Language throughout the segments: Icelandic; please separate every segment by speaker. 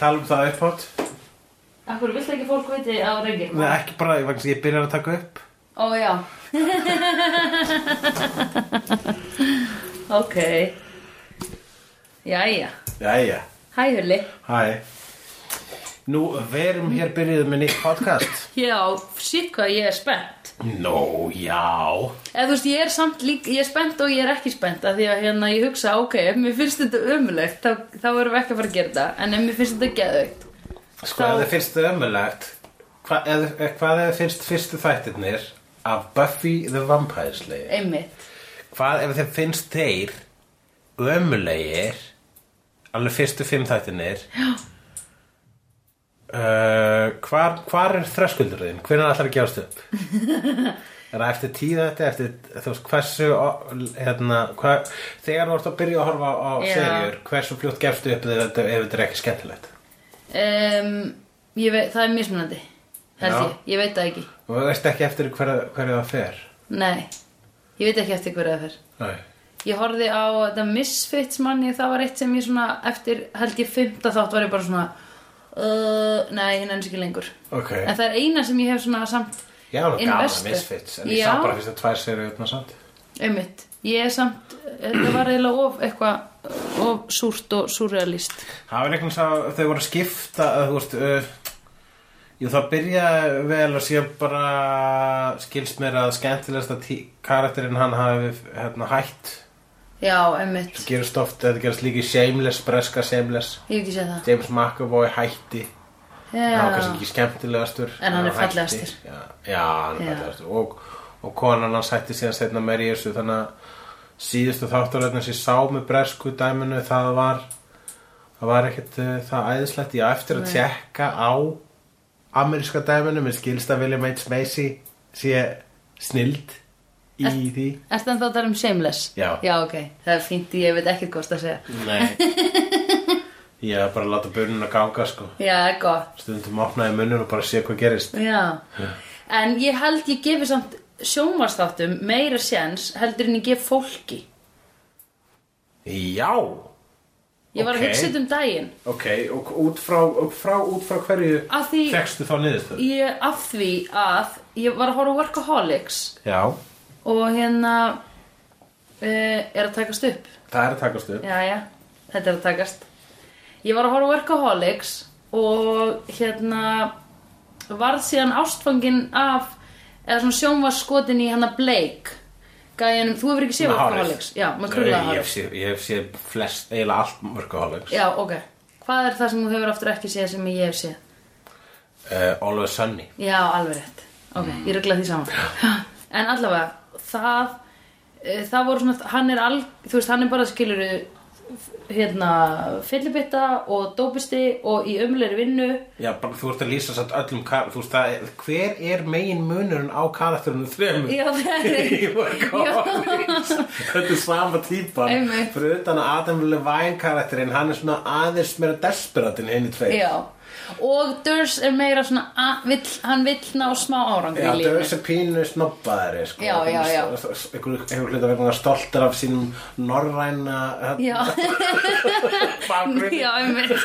Speaker 1: tala um það upphátt.
Speaker 2: Akkur vilt ekki fólk viti á reygin?
Speaker 1: Nei, ekki bara, vegna þess að ég byrjar að taka upp.
Speaker 2: Ó já. ok. Jæja.
Speaker 1: Jæja,
Speaker 2: Hæ Hulli.
Speaker 1: hæ. Nú, verum hér byrjuð með nýtt podcast.
Speaker 2: Já, sitt hvað ég er spennt.
Speaker 1: Nó, já.
Speaker 2: Eða þú veist, ég er samt líka, ég er spennt og ég er ekki spennt af því að hérna ég hugsa, ok, ef mér finnst þetta ömulegt, þá, þá erum við ekki að fara að gera þetta, en ef mér finnst þetta geðaukt.
Speaker 1: Sko,
Speaker 2: Þá-
Speaker 1: ef þið finnst þið ömulegt, hva, ef, ef- hvað ef þið finnst fyrstu þættirnir af Buffy the Vampire Slayer?
Speaker 2: Einmitt.
Speaker 1: Hvað ef þið finnst þeir ömulegir, alveg fyrstu fimm þættirnir? Já. Uh, hvar, hvar er þröskuldur þinn? Hvernig ætlar að gefast upp? er það eftir tíð þetta? Eftir, þú veist, hversu, o- hérna, hvað, þegar þú ert að byrja að horfa á
Speaker 2: Já.
Speaker 1: seriur, hversu fljótt gefstu upp þegar þetta, ef þetta er ekki skemmtilegt?
Speaker 2: Um, ég veit, það er mismunandi, held
Speaker 1: Já.
Speaker 2: ég, ég veit það ekki.
Speaker 1: Og þú veist ekki eftir hverju hver það fer?
Speaker 2: Nei, ég veit ekki eftir hverja það fer.
Speaker 1: Nei.
Speaker 2: Ég horfði á The Misfits manni, það var eitt sem ég svona, eftir held ég fymta þátt var ég bara svona, uh, nei, hérna eins ekki lengur.
Speaker 1: Ok.
Speaker 2: En það er eina sem ég hef svona samt
Speaker 1: Ég var nú gaman að
Speaker 2: invested.
Speaker 1: Misfits, en ég
Speaker 2: Já.
Speaker 1: sá bara fyrst að tvær serið öðna samt.
Speaker 2: Einmitt, ég er samt þetta var eiginlega of eitthvað of súrt og surrealist
Speaker 1: Það var einhvern veginn að þau voru að skipta, að, þú veist, uh, jú það byrjaði vel og síðan bara skilst mér að skemmtilegasta tí- karakterinn hann hafi hérna, hætt.
Speaker 2: Já, einmitt,
Speaker 1: Það gerist oft, þetta gerist líka í Shameless, breska Shameless.
Speaker 2: ég hef ekki séð það
Speaker 1: James McAvoy hætti. Já. Það var kannski
Speaker 2: Já,
Speaker 1: ekki skemmtilegastur.
Speaker 2: En hann er
Speaker 1: hætti.
Speaker 2: fallegastur.
Speaker 1: Já, já, hann er
Speaker 2: Já.
Speaker 1: fallegastur. Og, og konan hans hætti síðan setna meir í þessu þannig að síðustu þáttaröðna sem ég sá með bresku dæminu það var það var ekkert uh, það æðislegt ég á eftir að tjekka á ameríska dæminu með skilsta William H. Macy sé snild í því
Speaker 2: Ertu en þá þar um shameless?
Speaker 1: Já.
Speaker 2: Já, ok, það er fínt, ég veit ekkert hvort að segja
Speaker 1: Nei Ég hef bara að láta börnuna ganga sko
Speaker 2: Já, gott
Speaker 1: stundum opnaði munnur og bara sé hvað gerist
Speaker 2: Já, en ég held ég gefi samt sjónvarsþáttum meira séns heldur en ég gef fólki
Speaker 1: Já
Speaker 2: Ég var
Speaker 1: Ok.
Speaker 2: að hugsa þetta um daginn
Speaker 1: Ok, og út frá, og frá, út frá hverju
Speaker 2: Af því-
Speaker 1: fegstu þá niðurstöð?
Speaker 2: ég, af því að ég var að horfa á Workaholics
Speaker 1: Já,
Speaker 2: og hérna uh, er að takast upp
Speaker 1: það er að takast upp.
Speaker 2: Jæja, þetta er að takast Ég var að horfa á Workaholics og hérna varð síðan ástfangin af eða svona sjónvarskotin í hana Blake Gæin, þú hefur ekki séð
Speaker 1: Með hárið.
Speaker 2: Workaholics Já, með krullaða
Speaker 1: Ég hef
Speaker 2: hárið
Speaker 1: séð, ég hef séð flest, eiginlega allt workaholics.
Speaker 2: Já, ok Hvað er það sem þú hefur aftur ekki séð sem ég hef séð?
Speaker 1: Uh, Always Sunny.
Speaker 2: Já, alveg rétt Ok,
Speaker 1: Mm.
Speaker 2: ég ruggla því saman En allavega, það eh, það voru svona, hann er al, þú veist, hann er bara skilur hérna, fyllibitta og dópisti og í umleiri vinnu
Speaker 1: Já, bara, þú ert að lýsa satt öllum, kar- þú veist það, er- hver er megin munurinn á karakterinu þremur?
Speaker 2: Já, það er-
Speaker 1: Í workaholics. Þetta er sama típan.
Speaker 2: Einmitt.
Speaker 1: Fyrir utan að Adam Levine karakterinn, hann er svona aðeins meira desperat en henni tvei.
Speaker 2: Já, og Durs er meira svona, að, vill, hann vill ná smá árangur
Speaker 1: Já, það
Speaker 2: í
Speaker 1: er
Speaker 2: lífinu.
Speaker 1: þessi pínu snobbaðari sko.
Speaker 2: Já, já, já.
Speaker 1: Einhver einhver hluta verðum að stoltar af sínum norræna hérna,
Speaker 2: Já,
Speaker 1: bakgrunni
Speaker 2: já, einmitt.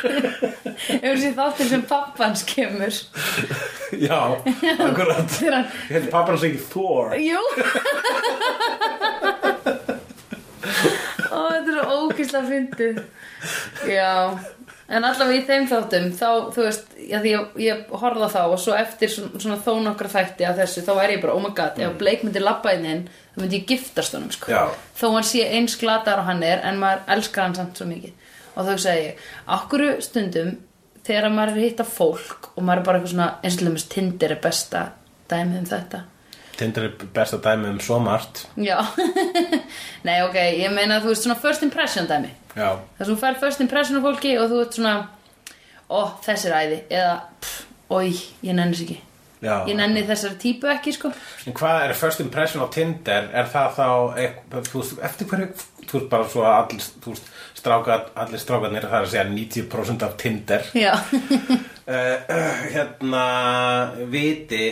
Speaker 2: Hefur sér þáttir sem pappans kemur.
Speaker 1: Já, akkurat
Speaker 2: Þegar hann,
Speaker 1: Hérna pappan sem ekki Thor
Speaker 2: jú. Ó, þetta er ókýrslega fyndið. Já, en allavega í þeim þáttum, þá, þú veist, já, því ég, ég horfða þá og svo eftir svona, svona þó nokkra þætti af þessu, þá væri ég bara, oh my god, ef Blake myndi labba inn inn, þá myndi ég giftast honum, sko.
Speaker 1: Já.
Speaker 2: þó hann sé eins glatar og hann er en maður elskar hann samt svo mikið og þá segi ég, okkur stundum þegar maður er að hitta fólk og maður er bara eitthvað svona, eins og lemast Tinder er besta dæmið um þetta
Speaker 1: Tinder er besta dæmi um svo margt
Speaker 2: já, nei ok ég meina þú veist svona first impression dæmi
Speaker 1: Já,
Speaker 2: þess að þú fær first impression af fólki og þú ert svona ó, þessi er æði eða, pff, oi, ég nenni þess ekki
Speaker 1: já
Speaker 2: ég nenni þessari típu ekki sko
Speaker 1: En hvað er first impression á Tinder? Er það þá, eitthvað, þú veist, eftir hverju Þú veist bara svo að allir, þú veist, stráka, allir strákarnir Það er að segja 90% af Tinder
Speaker 2: já,
Speaker 1: uh, hérna viti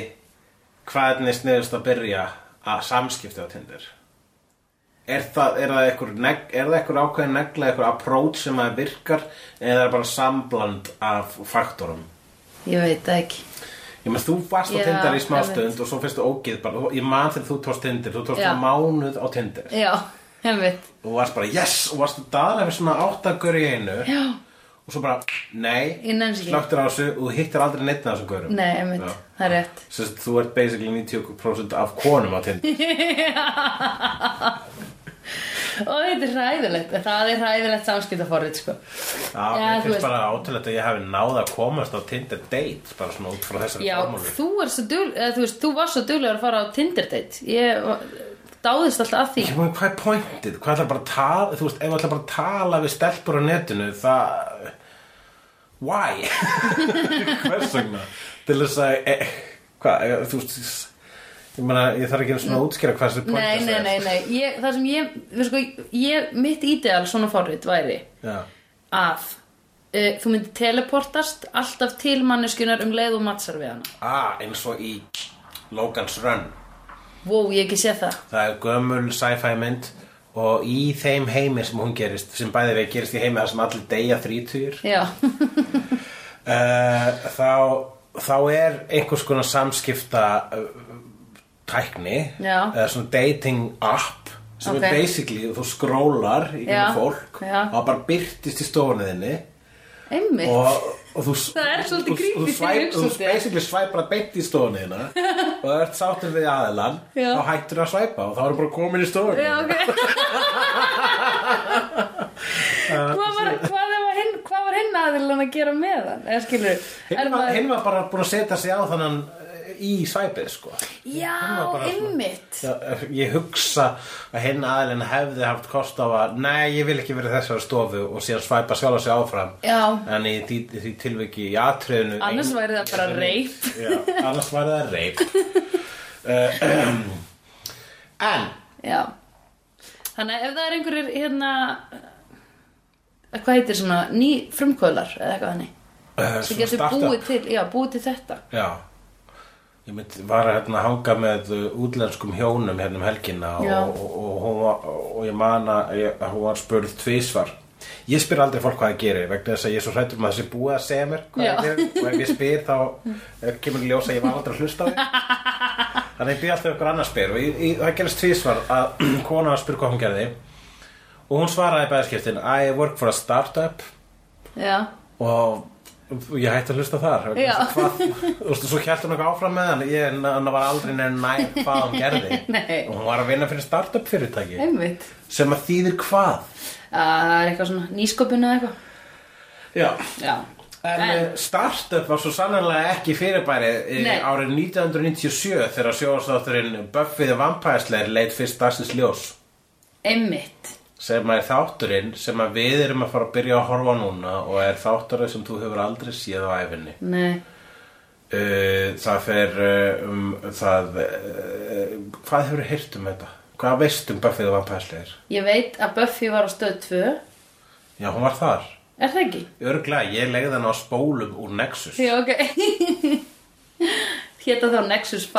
Speaker 1: hvernig sniðust að byrja að samskipta á Tinder er það, er það einhver, neg, er það einhver ákveðin negla, einhver approach sem að virkar eða er það bara sambland af faktorum?
Speaker 2: Ég veit það ekki.
Speaker 1: Ég meðan þú varst á
Speaker 2: Já,
Speaker 1: Tinder í
Speaker 2: einmitt.
Speaker 1: smástund og svo fyrstu ógið bara, þú- ég man þegar þú tóst Tinder, þú tóst
Speaker 2: Já.
Speaker 1: mánuð á Tinder
Speaker 2: Já, hemmið.
Speaker 1: og varst bara yes og varst að daðlega fyrir svona áttakur í einu
Speaker 2: Já,
Speaker 1: og svo bara nei,
Speaker 2: Ég nens ekki.
Speaker 1: slöktur á þessu og þú hittir aldrei neitt með þessum görum.
Speaker 2: nei, hemmið.
Speaker 1: Já.
Speaker 2: Það er rétt.
Speaker 1: Sest, þú ert basically 90% af konum á Tinder.
Speaker 2: Ó, þetta er hræðilegt. Það er hræðilegt samskiptaforrið, sko.
Speaker 1: Já,
Speaker 2: Já,
Speaker 1: mér
Speaker 2: þú
Speaker 1: finnst
Speaker 2: veist.
Speaker 1: bara átilegt að ég hafi náð að komast á Tinder date bara svona út frá þessari
Speaker 2: Já,
Speaker 1: formúlu.
Speaker 2: þú, er svo dugl, eða, þú, veist, þú var svo duglegur að fara á Tinder date. Ég var- dáðist alltaf að því.
Speaker 1: Ég meina, hvað er pointið? Hvað ætlar bara að tala, þú veist, ef ætlar bara að tala við stelpur á netinu, það, why? Hvers vegna? Til þess að, e, hvað, e, þú veist, ég meina, ég þarf ekki einu svona að útskýra hvað þessi pointið
Speaker 2: Nei, nei, nei, nei. Ég, það sem ég, við sko, ég, mitt ídeal svona forrið væri
Speaker 1: Já,
Speaker 2: að uh, þú myndir teleportast alltaf til manneskunar um leið og matsar við hana.
Speaker 1: ah, eins og í Logan's Run,
Speaker 2: Wow, ég hef ekki sé það.
Speaker 1: það er gömul sci-fi mynd og í þeim heimi sem hún gerist, sem bæði við gerist í heimi þar sem allir deyja þrítugir,
Speaker 2: Já,
Speaker 1: Eh, þá, þá er einhvers konar samskipta uh, tækni
Speaker 2: Já.
Speaker 1: eða svona dating app sem
Speaker 2: Ok.
Speaker 1: er basically þú skrólar í
Speaker 2: Já,
Speaker 1: gegnum fólk
Speaker 2: já.
Speaker 1: og það bara byrtist í stofunniðinni
Speaker 2: einmitt.
Speaker 1: og, og þú
Speaker 2: Það er svolítið
Speaker 1: og- og
Speaker 2: creepy
Speaker 1: þú svæp-
Speaker 2: þegar ég hugsa um
Speaker 1: og
Speaker 2: út í
Speaker 1: þú
Speaker 2: það.
Speaker 1: basically svæpar að beint í stofunniðina og það ert sáttur við aðilan
Speaker 2: Já.
Speaker 1: þá hættur að svæpa og þá erum bara komin í
Speaker 2: Já,
Speaker 1: stofunniðina
Speaker 2: ok. hvað, var, hvað, var hinn, hvað var hinn aðilann að gera með hann? Eða skilur,
Speaker 1: hinn var, hinn var bara búin að setja sig á þannan eh, í svæpið sko
Speaker 2: Já,
Speaker 1: hinn var bara svona-
Speaker 2: einmitt.
Speaker 1: Já, eh, ég hugsa að hinn aðilinn hefði haft kost á að nei, ég vil ekki vera í þessari stofu og síðan svæpa sjálf sig áfram
Speaker 2: Já.
Speaker 1: en í því, því tilviki í atriðinu
Speaker 2: Annars væri það bara reip.
Speaker 1: Já, annars væri það reip uh, en
Speaker 2: Já. Þannig að ef það er einhverjir hérna, eh, hvað heitir svona, ný frumkvölar eða eitthvað þannig.
Speaker 1: uh,
Speaker 2: Sem getur búið til, já, búið til þetta.
Speaker 1: já Ég mynd, var að hérna, hanga með uh, útlenskum hjónum hérna um helgina og,
Speaker 2: Já.
Speaker 1: og, og, hún var- og ég man að ég- að hún var spurð tvísvar Ég spyr aldrei fólk hvað það gerir vegna þess að ég er svo hrættur um að það sé búið að segja mér hvað
Speaker 2: Já.
Speaker 1: það gerir og ef ég spyr þá eh, kemur í ljós að ég var aldrei að hlusta á því Þannig ég byrja alltaf ykkur annars spyr og ég, ég, það gerist tvísvar að kona var að spyr hvað hún gerði og hún svaraði bæðskiptin I work for a startup
Speaker 2: Já,
Speaker 1: og ég hætti að hlusta þar
Speaker 2: Já.
Speaker 1: Hvað- þú veist, svo hjælt hún eitthvað áfram með hann ég hann var aldrei nefn nær hvað hún gerði
Speaker 2: Nei.
Speaker 1: og hún var að vinna fyrir startup fyrirtæki
Speaker 2: einmitt.
Speaker 1: sem að þýðir hvað
Speaker 2: Að Það er eitthvað svona nýsköpun eða eitthvað.
Speaker 1: já
Speaker 2: Já.
Speaker 1: En, en startup var svo sannlega ekki fyrirbæri
Speaker 2: Nei.
Speaker 1: Nei. árið 1997 þegar sjóðastátturinn Buffy the Vampire Slayer leit fyrst dagsins ljós
Speaker 2: Einmitt.
Speaker 1: sem er þátturinn sem að við erum að fara að byrja að horfa á núna og er þátturinn sem þú hefur aldrei séð á æfinni
Speaker 2: Nei.
Speaker 1: Uh, það fer uh, um það uh, hvað hefur heyrt um þetta? hvað veist um Buffy the Vampire Slayer?
Speaker 2: Ég veit að Buffy var á stöð 2.
Speaker 1: já, hún var þar
Speaker 2: Er það ekki?
Speaker 1: örglega, ég legði hann á spólum úr Nexus
Speaker 2: Já, ok. Hétta þá Nexus 5.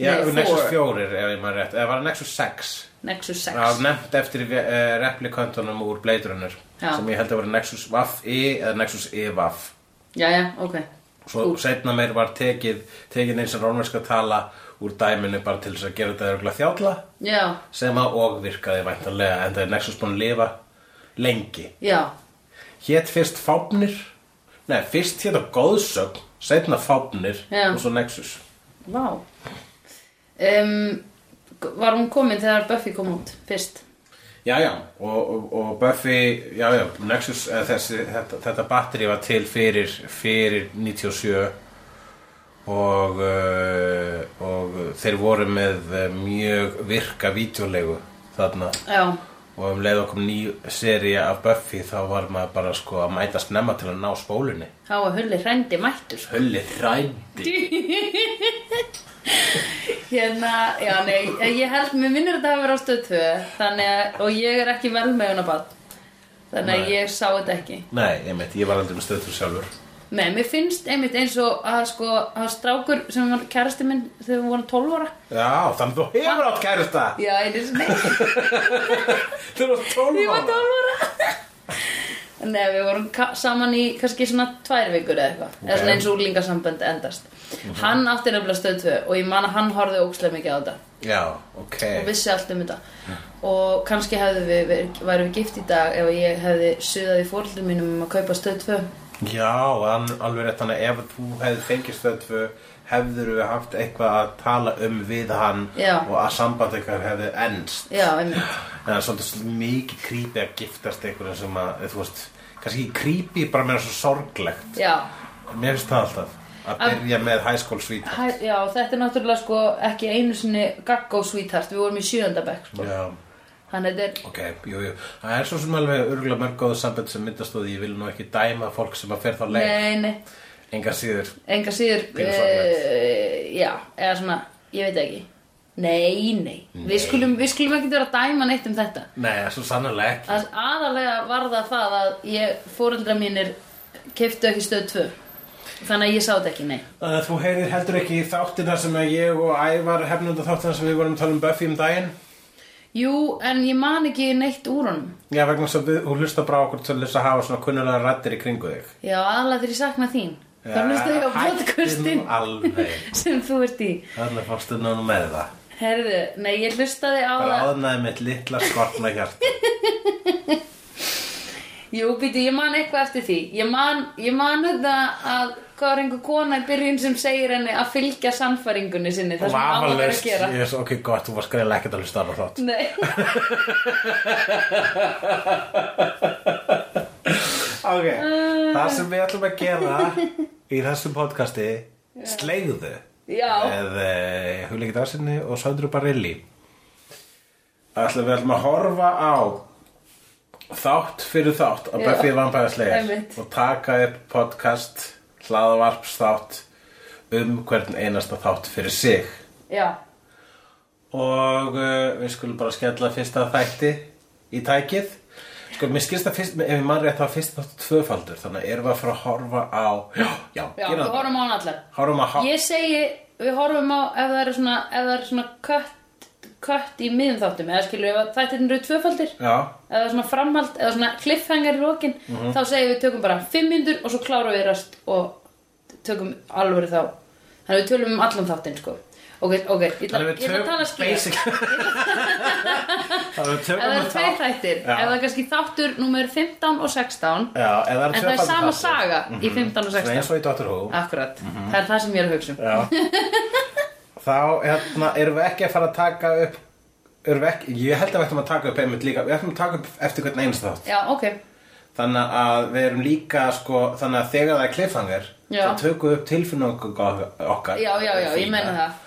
Speaker 1: já,
Speaker 2: nei,
Speaker 1: Nexus
Speaker 2: four.
Speaker 1: 4 ef ég maður rétt, eða var það Nexus 6
Speaker 2: Nexus 6.
Speaker 1: það var nefnt eftir uh, replikantunum úr Blade Runner
Speaker 2: Já.
Speaker 1: sem ég held að vera Nexus Vaff I eða Nexus E Vaff
Speaker 2: Já, já, ok.
Speaker 1: svo setna meir var tekið tekin eins og rómverska tala úr dæminu bara til þess að gera þetta örglega þjálla
Speaker 2: Já,
Speaker 1: sem að og virkaði væntanlega en það er Nexus búin að lifa lengi
Speaker 2: já.
Speaker 1: hétt fyrst fápnir nei, fyrst hétt á góðsögn setna fápnir
Speaker 2: Já.
Speaker 1: og svo Nexus
Speaker 2: Vá. Um, var hún komin þegar Buffy kom út fyrst?
Speaker 1: já, já, og, og, og Buffy já, já, Nexus, eða þessi, þetta, þetta batteri var til fyrir, fyrir 97 og, uh, og þeir voru með eh, mjög virka vídeolegu þarna
Speaker 2: Já.
Speaker 1: og um leið okkur ný seria af Buffy þá var maður bara sko að mæta snemma til að ná spólunni
Speaker 2: Þá var hulli hrændi mættur. sko.
Speaker 1: Hulli þrændi
Speaker 2: Hérna, já, nei, ég held, mér minnir þetta að vera á stöð 2, þannig að, og ég er ekki vel með hún að bad. Þannig að
Speaker 1: Nei.
Speaker 2: ég sá þetta ekki.
Speaker 1: Nei, ég meit, ég var aldrei með stöðtur sjálfur
Speaker 2: Nei, mér finnst einmitt eins og að sko að strákur sem var kærasti minn þegar við vorum 12 ára
Speaker 1: Já, þannig þú hefur átt kærasta
Speaker 2: Já, einu sinni,
Speaker 1: Þú erum 12
Speaker 2: ég var
Speaker 1: ára
Speaker 2: 12 ára Nei, við vorum ka- saman í kannski svona tvær vikur eða eitthvað eða
Speaker 1: Ok.
Speaker 2: svona eins og úlingasambönd endast Hann átti nefnilega stöð 2 og ég man að hann horfði ókslega mikið á þetta
Speaker 1: Já, ok
Speaker 2: og vissi allt um þetta og kannski hefðu við, við værum við gift í dag ef ég hefði suðað í fórhaldum mínum um að kaupa stöð 2
Speaker 1: Já, en alveg rétt hann að ef þú hefði fengið stöðfu hefður við haft eitthvað að tala um við hann
Speaker 2: Já.
Speaker 1: og að samband eitthvað hefði ennst
Speaker 2: Já, einmitt
Speaker 1: en það er svolítið mikið creepy að giftast einhverjum sem að, þú veist kannski ekki creepy, bara meira svo sorglegt
Speaker 2: Já,
Speaker 1: Mér finnst það alltaf að
Speaker 2: Að-
Speaker 1: byrja með high school sweet
Speaker 2: Hæ, já, þetta er náttúrulega sko ekki einu sinni gaggó sweetheart, við vorum í sjöndabæk sko.
Speaker 1: Já,
Speaker 2: Þannig þetta
Speaker 1: ok, jú, jú Það er svo sem alveg örgulega mörg góðu samband sem myndast og ég vil nú ekki dæma fólk sem að fer þá
Speaker 2: er,
Speaker 1: leið
Speaker 2: nei, nei,
Speaker 1: enga síður
Speaker 2: enga síður,
Speaker 1: Pínu
Speaker 2: eh, já, eða svona, ég veit ekki. Nei, nei, Við, skulum, við skulum ekki vera að dæma neitt um þetta.
Speaker 1: Nei, svo sannarlega ekki
Speaker 2: Það aðalega var það það að ég, fóreldra mínir, keftu ekki stöð 2. Þannig að ég sá þetta ekki, nei.
Speaker 1: Þannig að Uh, þú heyrir heldur ekki í þáttina sem að ég og Ævar hefnunda þáttina sem við vorum að tala um Buffy um daginn
Speaker 2: Jú, en ég man ekki neitt úr honum.
Speaker 1: Já, vegna þess að við- hún hlusta bara á okkur til þess að hafa svona kunnulega rættir í kringu þig
Speaker 2: Já, aðalega þegar ég sakna þín. Þá
Speaker 1: Já,
Speaker 2: hlusta ég á
Speaker 1: hættu
Speaker 2: podcastin
Speaker 1: nú alveg
Speaker 2: sem þú ert í.
Speaker 1: Þannig fórstu núna með það
Speaker 2: Herðu, nei, ég hlustaði á
Speaker 1: Bara
Speaker 2: það
Speaker 1: aðnaði mitt litla skortna hjarta
Speaker 2: Jú, býti, ég man eitthvað eftir því Ég man, ég man um það að hvað er einhver kona í byrjun sem segir henni að fylgja sannfæringunni sinni Það sem hann var að
Speaker 1: Vafalaust,
Speaker 2: gera
Speaker 1: yes, ok, gott, þú var skræðilega ekkert að hlusta á þátt
Speaker 2: Nei,
Speaker 1: Ok,
Speaker 2: Ah.
Speaker 1: það sem við ætlum að gera í þessum podcasti Sleigðu
Speaker 2: já,
Speaker 1: með uh, Huleikit Arsinni og Söndru Barilli ætlum við ætlum að horfa á þátt fyrir þátt að
Speaker 2: Já.
Speaker 1: Buffy Vampire Slayer
Speaker 2: Einmitt.
Speaker 1: og taka upp podcast hlaðavarpsþátt um hvern einasta þátt fyrir sig
Speaker 2: já
Speaker 1: og uh, við skulum bara skella fyrsta þætti í tækið sko, mér skilst að fyrst, ef ég mann rétt að fyrst þáttu tvöfaldur, þannig að erum við að fara að horfa á já, já,
Speaker 2: Já, við horfum á hann allar
Speaker 1: horfum að
Speaker 2: Ég segi, við horfum á ef það eru svona, ef það eru svona kött, kött í miðum þáttum eða skilur, ef þættir eru tvöfaldir
Speaker 1: já,
Speaker 2: eða það er svona framhald, eða svona cliffhanger í lokin,
Speaker 1: Mhm.
Speaker 2: þá segjum við tökum bara fimm myndur og svo klárum við rast og tökum alvöru þá þannig að við tölum um allan þáttinn sko ok, ok, ég ætla
Speaker 1: Þannig við
Speaker 2: ég ætla að tala skýra
Speaker 1: basic- Þannig við
Speaker 2: ef
Speaker 1: tökum
Speaker 2: það
Speaker 1: að
Speaker 2: er tveir þættir,
Speaker 1: Já.
Speaker 2: ef það er kannski þáttur númer 15 og 16
Speaker 1: Já, ef það er
Speaker 2: en það er
Speaker 1: tvöfaldur þáttur.
Speaker 2: sama
Speaker 1: Mhm.
Speaker 2: saga í 15 og
Speaker 1: Svona
Speaker 2: 16
Speaker 1: eins og í Doctor Who
Speaker 2: akkurat, það er það sem ég er að hugsa um
Speaker 1: Já Þá hérna, erum við ekki að fara að taka upp erum við ekki, Ég held að við ættum að taka upp einmitt líka Við ættum að taka upp eftir hvern einst þátt
Speaker 2: já, ok,
Speaker 1: Þannig að við erum líka sko, Þannig að þegar það er cliffhanger
Speaker 2: Já.
Speaker 1: þá tökum við upp tilfinningu okkar
Speaker 2: já, já, já, ég menna það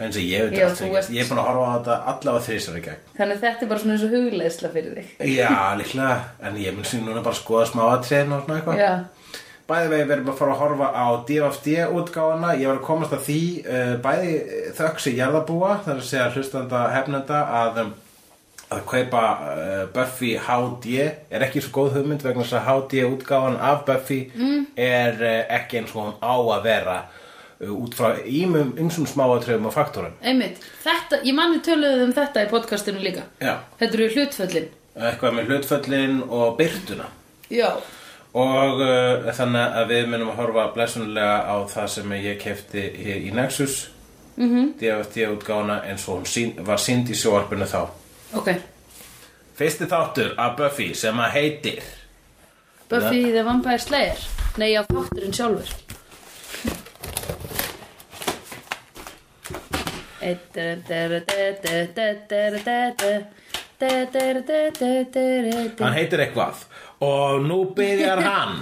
Speaker 1: En sem ég veit
Speaker 2: Já,
Speaker 1: allt
Speaker 2: þú
Speaker 1: ekki.
Speaker 2: ert-
Speaker 1: Ég er búin að horfa á þetta allavega þrísar í gegn
Speaker 2: þannig að þetta er bara svona eins og hugleðsla fyrir þig
Speaker 1: Já, líklega En ég mun síðan núna bara að skoða smá aðtriðin og svona eitthvað
Speaker 2: já,
Speaker 1: Bæði vegi verðum að fara að horfa á DFD útgáfana, ég var að komast að því uh, bæði þöksi jarðabúa, það er að segja hlustanda hefnenda að, um, að kaupa uh, Buffy HD er ekki svo góð hugmynd vegna þess að HD útgáfan af Buffy er uh, ekki eins og hún á að vera uh, út frá ímum ymsum smáatröfum og faktorum.
Speaker 2: einmitt, þetta, ég manni töluðið um þetta í podcastinu líka
Speaker 1: Já,
Speaker 2: þetta eru hlutföllin
Speaker 1: eitthvað með hlutföllin og byrtuna.
Speaker 2: Já,
Speaker 1: Og uh, þannig að við munum að horfa blessunlega á það sem ég kefti hér í Nexus mm -hmm. DFT útgána eins og hún sín, var sínd í sjóarpinu þá
Speaker 2: ok
Speaker 1: Fyrsti þáttur af Buffy sem að heitir
Speaker 2: Buffy the Vampire Slayer Nei, já, þátturinn sjálfur
Speaker 1: Hann heitir eitthvað og nú byrjar hann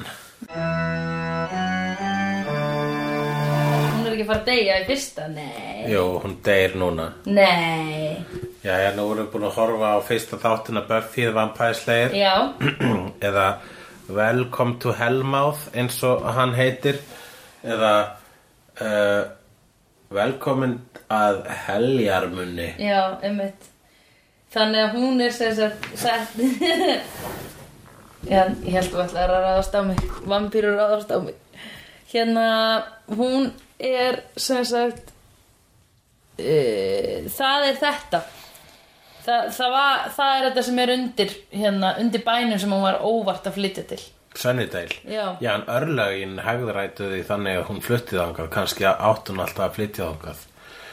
Speaker 2: Hún er ekki að fara að deyja í fyrsta, nei
Speaker 1: Jú, hún deyr núna
Speaker 2: Nei
Speaker 1: Jæja, nú erum við búin að horfa á fyrsta þáttin af Buffy the Vampire Slayer
Speaker 2: Já,
Speaker 1: eða Welcome to Hellmouth eins og hann heitir eða uh, Velkomin að heljarmunni
Speaker 2: já, einmitt Þannig að hún er sem sagt sett Já, ég held að ætlaði að ráðast á mig Vampýrur ráðast á mig hérna, hún er sem sagt uh, það er þetta Þa, það, var, það er þetta sem er undir hérna, undir bænum sem hún var óvart að flytja til
Speaker 1: Sunnydale
Speaker 2: Já.
Speaker 1: Já, en örlögin hegðrætu því þannig að hún fluttið þangað kannski átt hún alltaf að flytja þangað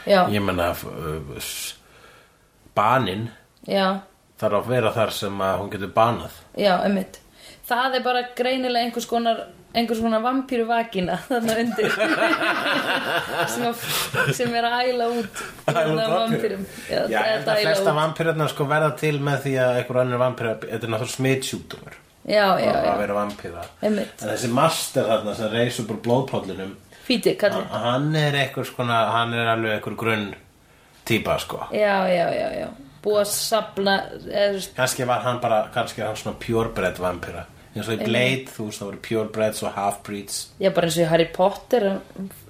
Speaker 2: já,
Speaker 1: ég menna uh, s- banin
Speaker 2: já,
Speaker 1: þarf að vera þar sem að hún getur banað
Speaker 2: já, einmitt það er bara greinilega einhvers konar einhvers konar vampíru vakina þarna undir sem, að, sem er að æla út hérna vampýrum
Speaker 1: Já,
Speaker 2: Já,
Speaker 1: en
Speaker 2: eða
Speaker 1: það
Speaker 2: dæla
Speaker 1: flesta
Speaker 2: út.
Speaker 1: vampýrarnar sko verða til með því að einhver annar vampýra, þetta er náttúrulega smitsjúkdómur
Speaker 2: já, já,
Speaker 1: að
Speaker 2: já,
Speaker 1: vera vampýra
Speaker 2: einmitt
Speaker 1: en þessi master þarna sem reis upp úr blóðpóllunum
Speaker 2: fíti, kallið
Speaker 1: hann er einhvers konar, hann er alveg einhver grunn típa sko
Speaker 2: já, já, já, já búið að sapna eða, þú veist,
Speaker 1: kannski var hann bara, kannski er hann svona purebred vampýra eins og í Blade, þú veist það voru purebreds og halfbreeds
Speaker 2: já, bara eins og í Harry Potter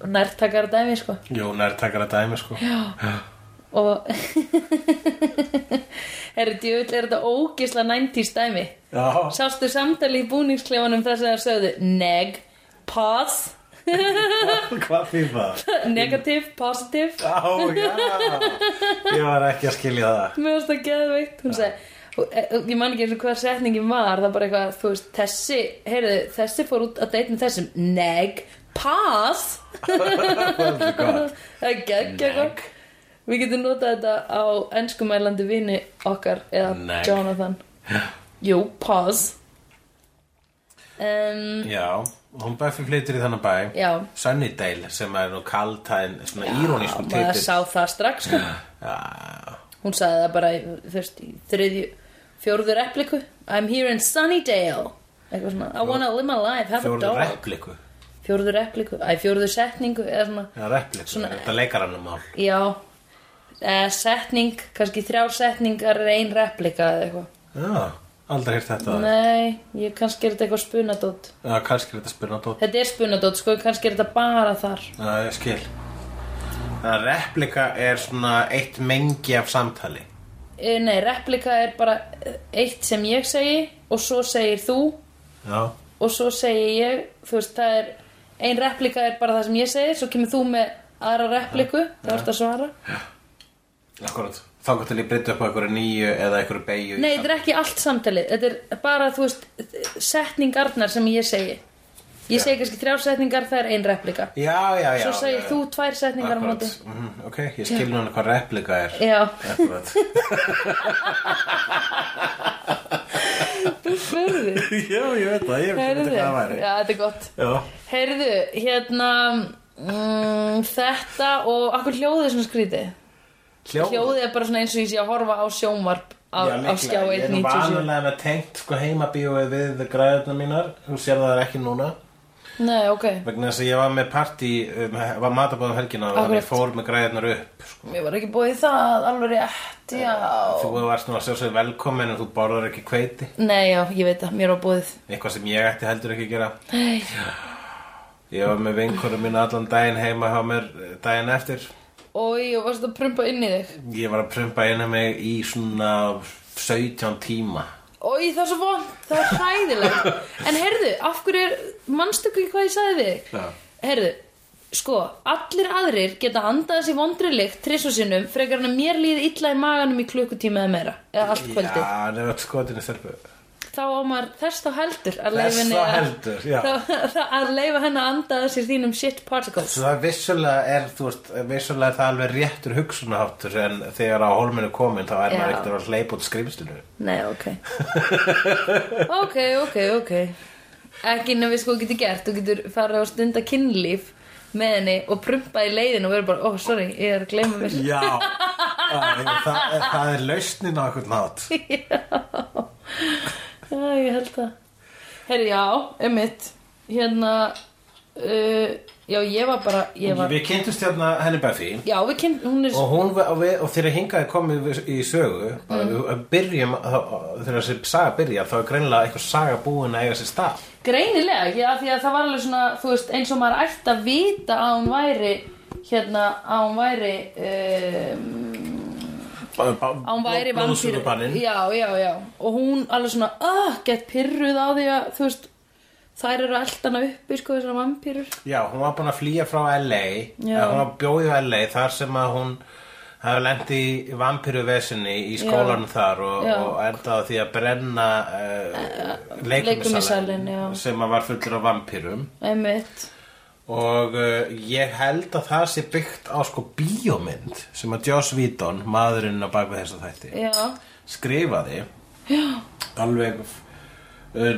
Speaker 2: nærtakar dæmi, sko
Speaker 1: jú, nærtakara dæmi sko
Speaker 2: já og herri, djöfull, er þetta ógisla 90s dæmi
Speaker 1: Já.
Speaker 2: sástu samtali í búningsklefanum þar sem það sögðu neg, pos
Speaker 1: Hvað því það?
Speaker 2: negativ, positiv
Speaker 1: Á, já Ég var ekki að skilja það
Speaker 2: mér varst það geðveikt hún sagði og, e, og ég man ekki eins og hver setningin var það er bara eitthvað, þú veist, þessi heyrðu, þessi fór út að date með þessum neg, pass
Speaker 1: Hvað er gott?
Speaker 2: það er geggja gott við getum notað þetta á ennskumælandi vini okkar eða
Speaker 1: Neg.
Speaker 2: Jonathan jú, pass um,
Speaker 1: Já, hún Buffy flytur í þannig bæ
Speaker 2: já,
Speaker 1: Sunnydale sem er nú kaltæðin svona
Speaker 2: Já,
Speaker 1: írónísku
Speaker 2: maður
Speaker 1: titill
Speaker 2: sá það strax sko.
Speaker 1: Já,
Speaker 2: hún sagði það bara í- þú veist, í þriðju, fjórðu repliku I'm here in Sunnydale eitthvað svona, I wanna live my life, have a
Speaker 1: Fjóruðu
Speaker 2: dog
Speaker 1: repliku
Speaker 2: fjórðu repliku, æ, fjórðu setningu eða svona,
Speaker 1: Já, repliku,
Speaker 2: Svona-
Speaker 1: þetta leikar hann um mál
Speaker 2: já eða setning, kannski þrjár setningar er ein replika eða eitthvað
Speaker 1: Já, aldrei hýrt þetta Nei.
Speaker 2: Nei, ég kannski er þetta eitthvað spunadót
Speaker 1: Já, kannski er þetta spyrna tótt
Speaker 2: Þetta er spunadót, sko, kannski er þetta bara þar
Speaker 1: Já, ég skil Þannig að replika er svona eitt mengi af samtali
Speaker 2: e, Nei, replika er bara eh, eitt sem ég segi og svo segir þú
Speaker 1: Já,
Speaker 2: og svo segi ég, þú veist, það er ein replika er bara það sem ég segi svo kemur þú með aðra repliku það vart að svara
Speaker 1: akkurat Þangar til ég breyta upp á einhverju nýju eða einhverju beigju
Speaker 2: Nei, þetta er ekki allt samtalið Þetta er bara, þú veist, setningarnar sem ég segi Ég segi kannski þrjár setningar, það er ein replika
Speaker 1: Já, já, já
Speaker 2: Svo
Speaker 1: já,
Speaker 2: segir
Speaker 1: já.
Speaker 2: þú tvær setningar á móti
Speaker 1: mm, ok, ég skil núna hvað replika er
Speaker 2: Já
Speaker 1: akkurat
Speaker 2: Þú spurði
Speaker 1: já, ég veit það, ég veit
Speaker 2: Heyrðu,
Speaker 1: hvað það væri
Speaker 2: já, þetta er gott
Speaker 1: já,
Speaker 2: Heyrðu, hérna mm, þetta og akkur hljóðið svona skrítið
Speaker 1: hljóð
Speaker 2: Hljóðið er bara svona eins og ég sé að horfa á sjónvarp á,
Speaker 1: já,
Speaker 2: á skjá
Speaker 1: líklega, ég er nú
Speaker 2: 1.97
Speaker 1: vanalega með tengt sko heimabíóið við græðurnar mínar þú sér það ekki núna
Speaker 2: Nei, ok,
Speaker 1: vegna þess að ég var með partí um, var matabóðum helgina og þannig
Speaker 2: Akkurat.
Speaker 1: ég fór með græðurnar upp sko.
Speaker 2: mér var ekki búið í það alveg rétt, já
Speaker 1: þú varst nú að sjá sér velkomin en þú borðar ekki kveiti
Speaker 2: Nei, já, ég veit það, mér var búið
Speaker 1: eitthvað sem ég ætti heldur ekki að gera
Speaker 2: Nei,
Speaker 1: ég var með vinkonum mín allan daginn heima hjá mér eh, daginn eftir
Speaker 2: oi, og varst að prumpa inn í þig
Speaker 1: Ég var að prumpa inn að mig í svona 17 tíma
Speaker 2: Oi, það er svo vond, það er hæðilegt En heyrðu, af hverju er, manstu ekki hvað ég sagði við þig?
Speaker 1: Já.
Speaker 2: Heyrðu, sko, allir aðrir geta handað þessi vondrilikt trissu sinnum frekar hann að mér líði illa í maganum í klukkutíma eða meira eða allt kvöldi
Speaker 1: Já, hann er öll skotin í stelpu
Speaker 2: Þá á maður þess þá heldur
Speaker 1: Þess
Speaker 2: að leyfa henni
Speaker 1: þá
Speaker 2: að-
Speaker 1: heldur, já.
Speaker 2: þá- þá- Að leifa henni að andaða sér þínum shit particles
Speaker 1: Svo það vissulega er, þú veist, vissulega er það alveg réttur hugsunaháttur en þegar á hólminu komin þá er
Speaker 2: Já.
Speaker 1: maður ekkert að hleypa út skrifstinu
Speaker 2: Nei, ok Ok, ok, ok Ekki nefnir við sko getur gert Þú getur farið að stunda kynlíf með henni og prumpa í leiðin og verður bara, oh, sorry, ég er að gleyma mér
Speaker 1: Já, það, er- það er lausnin á einhvern nátt
Speaker 2: Já, ég held það Herri, já, emitt Hérna uh, Já, ég var bara ég var,
Speaker 1: Við kynntumst hérna henni Buffy
Speaker 2: Já, við kynnt, hún er
Speaker 1: og, hún, var- og, við, og þegar hingaði komið við- í sögu bara
Speaker 2: Mm.
Speaker 1: við byrjum, þá- þegar þessi saga byrjar þá er greinilega eitthvað saga búin að eiga sér stað
Speaker 2: greinilega Já, því að það var alveg svona, þú veist, eins og maður ætti að vita að hún væri hérna, að hún væri um, að hún
Speaker 1: Án
Speaker 2: væri vampýr
Speaker 1: Blóðsugubannin
Speaker 2: já, já, já og hún alveg svona, ah, gett pyrruð á því að þú veist, þær eru eldana uppi sko þessar vampýrur
Speaker 1: Já, hún var búin að flýja frá LA
Speaker 2: Já.
Speaker 1: eða hún var bjóðið á LA þar sem að hún hafði lent í vampiru vesinni í skólanum þar og,
Speaker 2: Já.
Speaker 1: og endaði á því að brenna uh, leikumisalinn
Speaker 2: leikumisalinn, já.
Speaker 1: sem að var fullur af vampirum
Speaker 2: einmitt
Speaker 1: og uh, ég held að það sé byggt á sko bíómynd sem að Joss Whedon, maðurinn á bakvið þessa þætti
Speaker 2: já,
Speaker 1: skrifaði Já. alveg uh,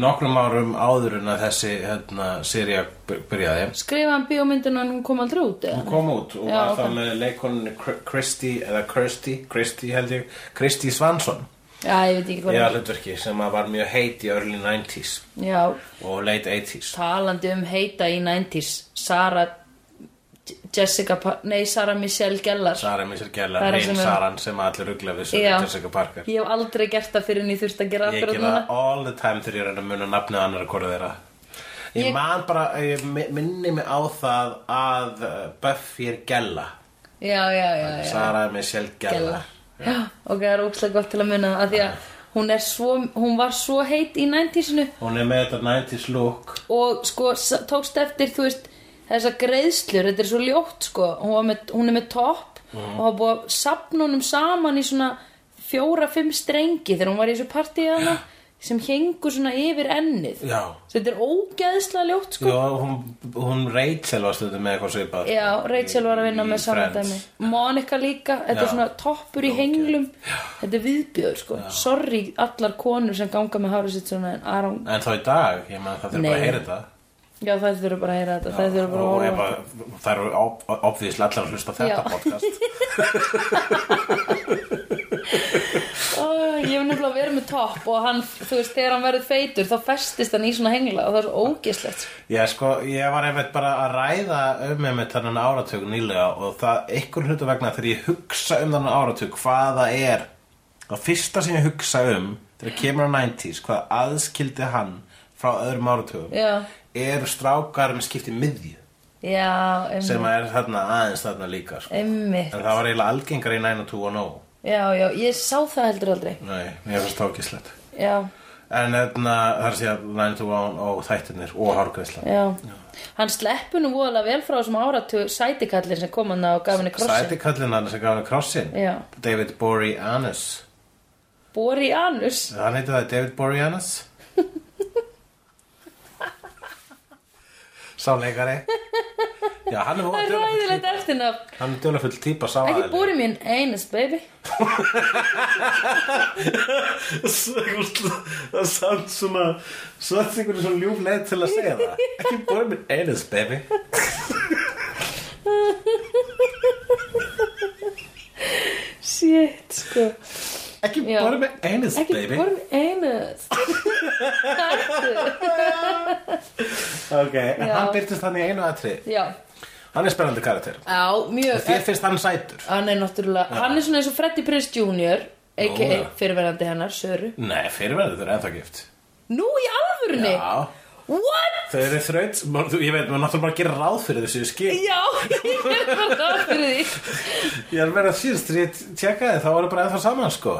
Speaker 1: nokkrum árum áður en að þessi hérna, seria byrjaði
Speaker 2: skrifaði hann bíómyndinu en hún kom aldrei út eða?
Speaker 1: hún kom út og
Speaker 2: Já,
Speaker 1: var
Speaker 2: ok.
Speaker 1: það með leikoninni Kristi eða Kristi, Kristi held ég Kristi Svansson
Speaker 2: já, ég veit ekki
Speaker 1: í
Speaker 2: hvað já.
Speaker 1: aðlutverki sem að var mjög heit í early 90s
Speaker 2: já,
Speaker 1: og late 80s
Speaker 2: talandi um heita í 90s Sara J- Jessica, Pa- nei Sara Michelle Gellar
Speaker 1: Sara Missel
Speaker 2: Það
Speaker 1: Gellar,
Speaker 2: er
Speaker 1: Reyn
Speaker 2: sem er-
Speaker 1: Saran sem allir ruggla við sem
Speaker 2: Já.
Speaker 1: Jessica Parker
Speaker 2: ég hef aldrei gert það fyrir en ég þurft að gera
Speaker 1: ég
Speaker 2: það fyrir
Speaker 1: gera það all the time þegar ég reyna að muna nafnið annar hvora þeirra ég,
Speaker 2: Ég-
Speaker 1: man bara, ég mi- minni mig á það að uh, Buffy er Gella
Speaker 2: já, já, já, já.
Speaker 1: Sara Michelle Gellar
Speaker 2: Gellar Já, ok, það er ógslag gott til að muna það af því að hún, er svo, hún var svo heit í 90-sinu
Speaker 1: hún er með þetta 90s look
Speaker 2: og sko s- tókst eftir þú veist þessar greiðslur, þetta er svo ljótt sko hún, var með, hún er með topp og hafa búið að sapna honum saman í svona fjóra-fimm strengi þegar hún var í þessu partíi hana sem hengur svona yfir ennið
Speaker 1: já
Speaker 2: Svo þetta er ógeðslega ljótt sko
Speaker 1: Jó, hún, hún Rachel var stundum með eitthvað svipað
Speaker 2: Já, Rachel var að vinna með saman dæmi Monica líka, þetta er
Speaker 1: Já.
Speaker 2: svona toppur í henglum Þetta er viðbjöður sko Sorry allar konur sem ganga með hárið sitt svona en Aron
Speaker 1: En þá í dag, ég meðan það þurfa
Speaker 2: Nei.
Speaker 1: bara að heyra þetta
Speaker 2: Já það þurfa bara að heyra þetta, það þurfa
Speaker 1: Og ef
Speaker 2: bara að horfa
Speaker 1: að- það eru obvíðislega allar að hlusta á þetta
Speaker 2: Já.
Speaker 1: podcast
Speaker 2: Ó, Ég hef nefnilega verið með topp og hann, þú veist, þegar hann verður feitur þá festist hann í svona hengla og það er svo ógeðslegt sko.
Speaker 1: Já, sko, ég var einmitt bara að ræða um einmitt þannig áratug nýlega og það ykkur hlutu vegna þegar ég hugsa um þannig áratug hvað það er og fyrsta sem ég hugsa um þegar kemur á 90s, hvað aðskildi hann frá öðrum áratugum
Speaker 2: Já,
Speaker 1: eru strákar með skipti miðju
Speaker 2: já,
Speaker 1: sem
Speaker 2: einmitt,
Speaker 1: er þarna aðeins þarna líka sko. en
Speaker 2: einmitt
Speaker 1: það var eiginlega algengari í 90210
Speaker 2: Já, já, ég sá það heldur aldrei
Speaker 1: oh. Nei, mér finnst það ákislegt
Speaker 2: Já,
Speaker 1: En þarna, þar sé að 90210 og þættinir oh og hárgreisla
Speaker 2: já Hann sleppur nú voðalega vel frá þessum áratu sætikallin sem kom hann á og gaf henni krossin
Speaker 1: Sætikallin hann sem gaf hann krossin
Speaker 2: Já.
Speaker 1: David Boreanaz
Speaker 2: Boreanus
Speaker 1: Hann heitir það David Boreanaz Sáleikari Já, hann er
Speaker 2: Það er
Speaker 1: voða
Speaker 2: ræðilegt eftirnafn
Speaker 1: Hann er dularfull típa sá
Speaker 2: Ekki búri mín Anus baby
Speaker 1: Það er samt svona Svart einhvern svona ljúf leið til að segja það Ekki búið minn eines, baby
Speaker 2: Shit sko
Speaker 1: Ekki
Speaker 2: Já.
Speaker 1: búið minn eines,
Speaker 2: Ekki
Speaker 1: baby
Speaker 2: búri mín Anus Hættu.
Speaker 1: Ok, en
Speaker 2: Já.
Speaker 1: hann byrtist hann í einu aðtrið
Speaker 2: Já,
Speaker 1: Hann er spennandi karakter
Speaker 2: á
Speaker 1: Og
Speaker 2: mjög
Speaker 1: Þér finnst hann sætur
Speaker 2: Hann er náttúrulega Hann er svona eins og Freddy Prinze Jr A.k.a.
Speaker 1: já.
Speaker 2: fyrirverandi hennar, Söru
Speaker 1: Nei, fyrirverðið þau eru ennþá gift
Speaker 2: Nú í alvörunni
Speaker 1: Já,
Speaker 2: What?
Speaker 1: þau eru þraut maður- þú- Ég veit, maður náttúrulega bara að gera ráð fyrir þessu skil
Speaker 2: Já, ég er bara það fyrir því
Speaker 1: Ég er verið að síðast, þegar ég tjekkaði þá voru bara ennþá saman, sko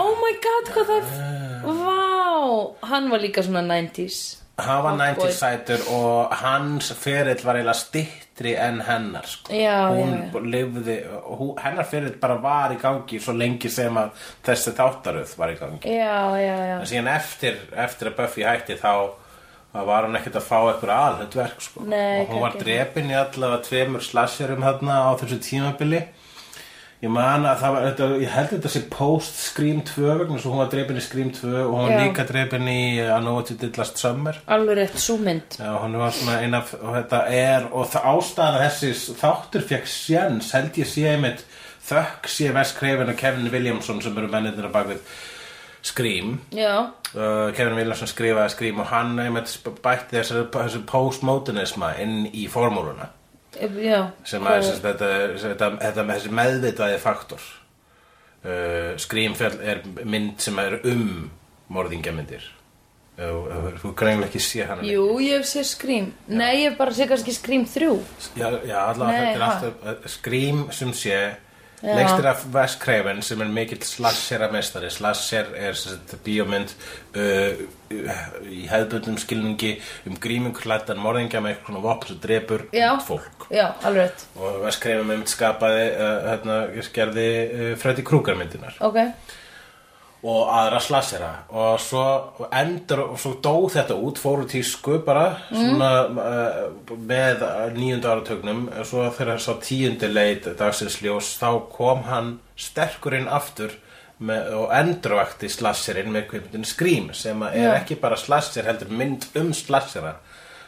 Speaker 2: Oh my god, hvað það Vá, hann var líka svona 90s
Speaker 1: Hann var
Speaker 2: Hot
Speaker 1: 90
Speaker 2: boy.
Speaker 1: sætur og hans ferill var eiginlega stittri en hennar, sko
Speaker 2: Já,
Speaker 1: Hún
Speaker 2: já, já.
Speaker 1: lifði, hún, hennar ferill bara var í gangi svo lengi sem að þessi þáttaröð var í gangi
Speaker 2: Já, já, já
Speaker 1: En síðan eftir, eftir að Buffy hætti þá þá var hún ekkert að fá eitthvað aðhundverk sko.
Speaker 2: Nei,
Speaker 1: og hún var
Speaker 2: ekki.
Speaker 1: drepin í allavega tveimur slasherum þarna á þessu tímabili ég man að það var þetta, ég held þetta sé post Scream 2 vegna svo hún var drepin í Scream 2 og hún var
Speaker 2: Já.
Speaker 1: líka drepin í uh, I Know What You Did Last Summer
Speaker 2: Alveg rétt sú mynd
Speaker 1: Já, hún var svona eina og þetta er og það ástæðan að þessi þáttur fekk sjens held ég sé einmitt þökk sé Wes Craven og Kevin Williamson sem eru mennirnir á bakvið Scream
Speaker 2: Já,
Speaker 1: uh, Kevin Williamson skrifaði skrím og hann einmitt sp- bætti þessu, þessu postmodernisma inn í formúluna
Speaker 2: e- já
Speaker 1: sem
Speaker 2: Og-
Speaker 1: að sem sagt, þetta, sem þetta, þetta með þessi meðvitaði faktor uh, skrýmfjall er mynd sem er um morðingjamindir Þú- þú þú greinlega ekki sé hann
Speaker 2: Jú, ég hef séð Scream Nei, ég hef bara séð kannski Scream 3
Speaker 1: já, já allavega
Speaker 2: Nei,
Speaker 1: þetta er
Speaker 2: ha?
Speaker 1: alltaf skrým sem sé
Speaker 2: Já.
Speaker 1: Legstir af Wes Craven sem er mikill slasher að mestari. Slasher er sem sagt, bíómynd uh, uh, í hefðbundum skilningi um grímingklættan morðingja með eitthvað svona vopn sem drepur
Speaker 2: Já.
Speaker 1: ungt fólk.
Speaker 2: já, alveg rétt
Speaker 1: Og Wes Craven með mynd skapaði, uh, hérna, gerði uh, Freddy Krueger myndinar
Speaker 2: ok,
Speaker 1: og aðra slasera og svo og endur og svo dó þetta út, fóru tísku bara svona uh, með nýjönda áratögnum og svo þegar sá tíundi leit dagsins ljós þá kom hann sterkurinn aftur með, og endurvakti slasserinn með kvipundin Scream sem að er
Speaker 2: Já.
Speaker 1: ekki bara slasser heldur mynd um slassera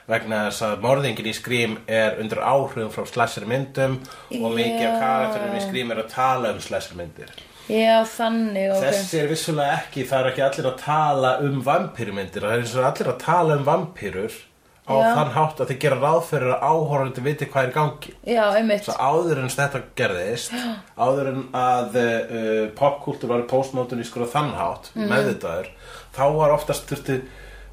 Speaker 1: vegna þess að morðingin í Scream er undir áhrifum frá slassermyndum og mikið af
Speaker 2: Já.
Speaker 1: karakterum í Scream er að tala um slassermyndir
Speaker 2: já, þannig ok
Speaker 1: Þessi er vissulega ekki, það er ekki allir að tala um vampýrumyndir, það er eins og allir að tala um vampýrur á
Speaker 2: Já.
Speaker 1: þann hátt að þeir gera ráð fyrir að áhorfandi viti hvað er í gangi.
Speaker 2: já, einmitt
Speaker 1: Svo áður en þetta gerðist, áður en að uh, popkultur var postmótun í skora þann hátt,
Speaker 2: Mhm.
Speaker 1: meðvitaður, þá var oftast þurfti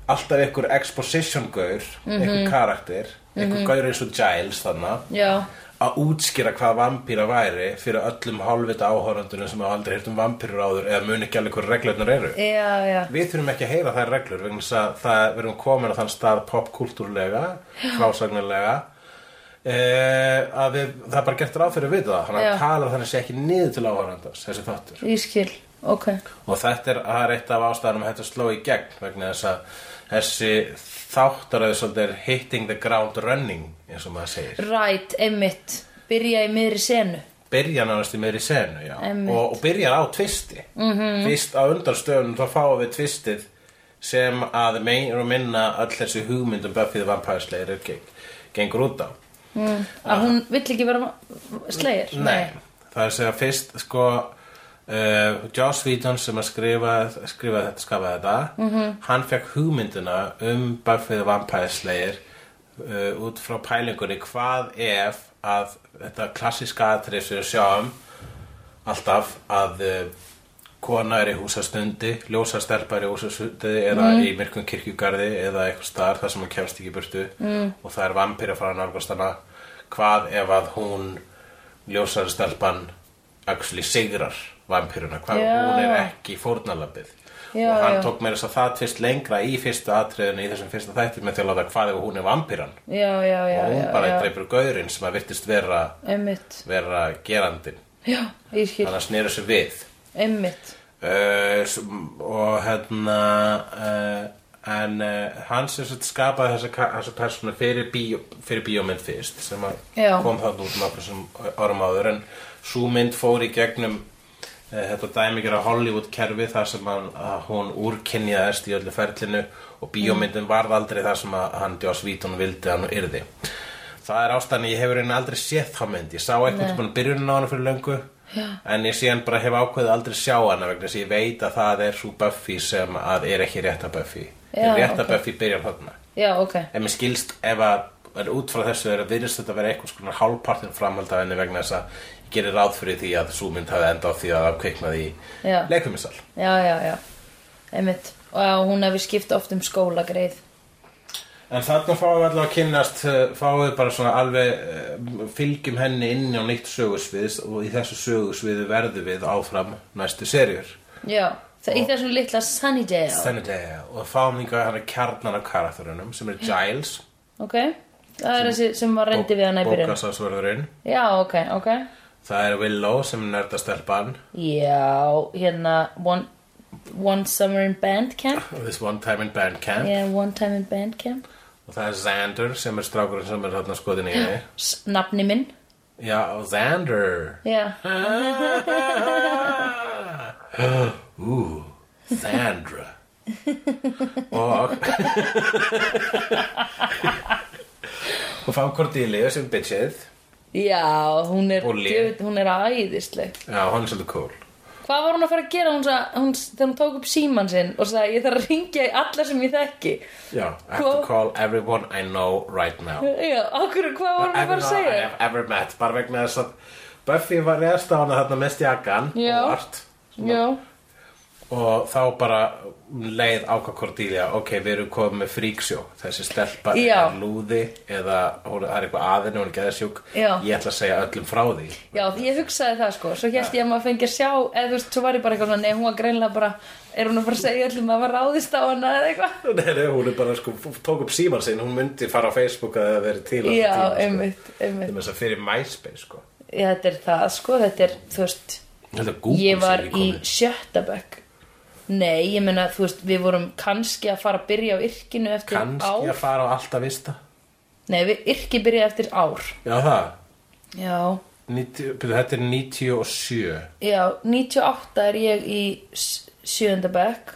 Speaker 1: alltaf einhver exposition-gaur,
Speaker 2: Mhm.
Speaker 1: einhver karakter, einhver gaur eins og Giles þannig
Speaker 2: já,
Speaker 1: að útskýra hvað vampýra væri fyrir öllum hálfvita áhorandunum sem hafa aldrei heyrt um vampýrur áður eða mun ekki alveg hvað reglurnar eru.
Speaker 2: já, já
Speaker 1: Við þurfum ekki að heyra þær reglur vegna þess að það við erum komin að þann stað popkultúrlega, frásagnarlega e, að við, það er bara gert ráð fyrir við það þannig
Speaker 2: Já.
Speaker 1: að tala þannig sé ekki niður til áhorandans þessi þáttur
Speaker 2: ég skil, ok
Speaker 1: og þetta er, það er eitt af ástæðanum að þetta sló í gegn vegna þess að þessi þáttaröð svolítið er hitting the ground running eins og maður segir
Speaker 2: right, einmitt byrja í miðri senu
Speaker 1: byrja nánast í meðri senu já.
Speaker 2: Einmitt.
Speaker 1: og, og byrjar á tvisti -hmm. fyrst á undarstöðunum þá fáum við tvistið sem að meir og minna öll þessi hugmyndum Buffy the Vampire Slayer er geng, gengur út á
Speaker 2: að hún vill ekki vera slegir
Speaker 1: Nei, það er að segja fyrst sko uh, Joss Whedon sem að skrifa, skrifa þetta, skafa þetta -hmm. hann fekk hugmyndina um Buffy the Vampire Slayer uh, út frá pælingunni hvað ef að þetta klassíska atrið sem við sjáum alltaf að uh, kona er í húsastundi, ljósastelpa er í húsastundi eða
Speaker 2: Mm.
Speaker 1: í myrkum kirkjugarði eða eitthvað staðar þar sem hún kemst ekki í burtu mm. og það er vampir að fara nálgast hana hvað ef að hún ljósastelpan actually sigrar vampiruna hvað
Speaker 2: Já.
Speaker 1: yeah. hún er ekki fórnalabið
Speaker 2: Já,
Speaker 1: og hann
Speaker 2: já.
Speaker 1: tók meira þess að það tvist lengra í fyrstu atriðinu í þessum fyrsta þætti með því að láta hvað ef hún er vampiran
Speaker 2: já, já, já,
Speaker 1: og hún
Speaker 2: já,
Speaker 1: bara
Speaker 2: já.
Speaker 1: dreipur gaurinn sem að virtist vera,
Speaker 2: einmitt
Speaker 1: vera gerandin
Speaker 2: já, ég skil,
Speaker 1: þannig að sneru sig við
Speaker 2: einmitt
Speaker 1: Eh, sem- og hérna uh, en uh, hann sem sagt skapaði þessa, ka- þessa persónu fyrir, bíó, fyrir bíómynd fyrst sem að
Speaker 2: Já.
Speaker 1: kom það út nokkur sem árum áður en svo mynd fór í gegnum uh, þetta dæmikera Hollywood kerfi þar sem hann, að hún úrkynjaðist í öllu ferlinu og bíómyndin varð aldrei þar sem að hann Joss Vítun vildi að hann yrði það er ástæðan að ég hefur einu aldrei séð þá mynd ég sá eitthvað sem hann byrjunin á hann fyrir löngu Já. en ég síðan bara hef ákveðið aldrei sjá hana vegna þess að ég veit að það er svo Buffy sem að er ekki rétta Buffy
Speaker 2: Já,
Speaker 1: rétta
Speaker 2: ok.
Speaker 1: Buffy byrjar þarna
Speaker 2: já, ok,
Speaker 1: ef mér skilst ef að en út frá þessu er að virðist þetta vera eitthvað skona hálfpartin framhald af henni vegna þess að ég gerir ráð fyrir því að svo mynd hafi enda á því að það kveiknaði í
Speaker 2: Já.
Speaker 1: leikumisal
Speaker 2: já, já, já einmitt, og já, hún hefur skipt oft um skólagreið
Speaker 1: En þarna fáum við allavega að kynnast uh, fáum við bara svona alveg uh, fylgjum henni inn á nýtt sögursviðs og í þessu sögursviðu verðum við áfram næstu serjur
Speaker 2: já, það, í þessum litla Sunnydale
Speaker 1: Þannig að og fáum við hann að kjarnan af karakterunum sem er Giles
Speaker 2: ok, það er þessi sem var rendi við hana í byrjun
Speaker 1: bókasásvörðurinn
Speaker 2: já, ok, ok
Speaker 1: Það er Willow sem er nördastelpan
Speaker 2: já, hérna one, one summer in band camp
Speaker 1: This One Time in Bandcamp
Speaker 2: yeah, one time in band camp
Speaker 1: og það er Xander sem er strákurinn sem er þarna skotin í henni
Speaker 2: S nafni minn,
Speaker 1: Já, og Xander
Speaker 2: já,
Speaker 1: Ú, Sandra Og Og fá Cordelia sem bitchið
Speaker 2: já, hún er
Speaker 1: Og Lea.
Speaker 2: djöfull- hún er æðisleg
Speaker 1: Já, hann er svolítið cool
Speaker 2: Hvað var hún að fara að gera hún, sa, hún, þegar hún tók upp síman sinn og sagði ég þarf að ringja í alla sem ég þekki
Speaker 1: Já, I have to
Speaker 2: Cool.
Speaker 1: call everyone I know right now
Speaker 2: Já, okkur, hvað var hún að fara að
Speaker 1: Everyone I
Speaker 2: segja?
Speaker 1: have ever met Bara vegna þess að Buffy var reyðst á hana þarna mest jakkan
Speaker 2: Já.
Speaker 1: og vart
Speaker 2: Já,
Speaker 1: og þá bara leið ákvað Cordelia ok, við erum komið með fríksjó þessi stelpa
Speaker 2: Já.
Speaker 1: er lúði eða hún, það er eitthvað aðinu, hún er geðsjúk
Speaker 2: Já.
Speaker 1: ég ætla að segja öllum frá því
Speaker 2: Já, ég hugsaði það sko, svo hélt ég að maður fengi að sjá eða þú veist, svo var ég bara eitthvað svona, nei, hún var greinlega bara er hún að fara að segja allir maður var ráðist á hana eða eitthvað
Speaker 1: Nei, nei, hún er bara sko, tók upp síman sinn, hún myndi fara á Facebook að það verið til allan
Speaker 2: Já,
Speaker 1: tímann, sko.
Speaker 2: einmitt,
Speaker 1: Það
Speaker 2: einmitt
Speaker 1: með þess að fyrir MySpace sko
Speaker 2: Já, þetta er það sko, þetta er, þú veist
Speaker 1: Þetta er Google
Speaker 2: Ég var
Speaker 1: sem
Speaker 2: í
Speaker 1: komið.
Speaker 2: sjötta bekk Nei, ég meina, þú veist, við vorum kannski að fara að byrja á yrkinu eftir
Speaker 1: Kannski
Speaker 2: ár
Speaker 1: að fara á alltaf vista
Speaker 2: Nei, við yrki byrja eftir ár
Speaker 1: Já það,
Speaker 2: Já,
Speaker 1: 90, byrju, þetta er 97
Speaker 2: já, 98 er ég í s- sjöunda bekk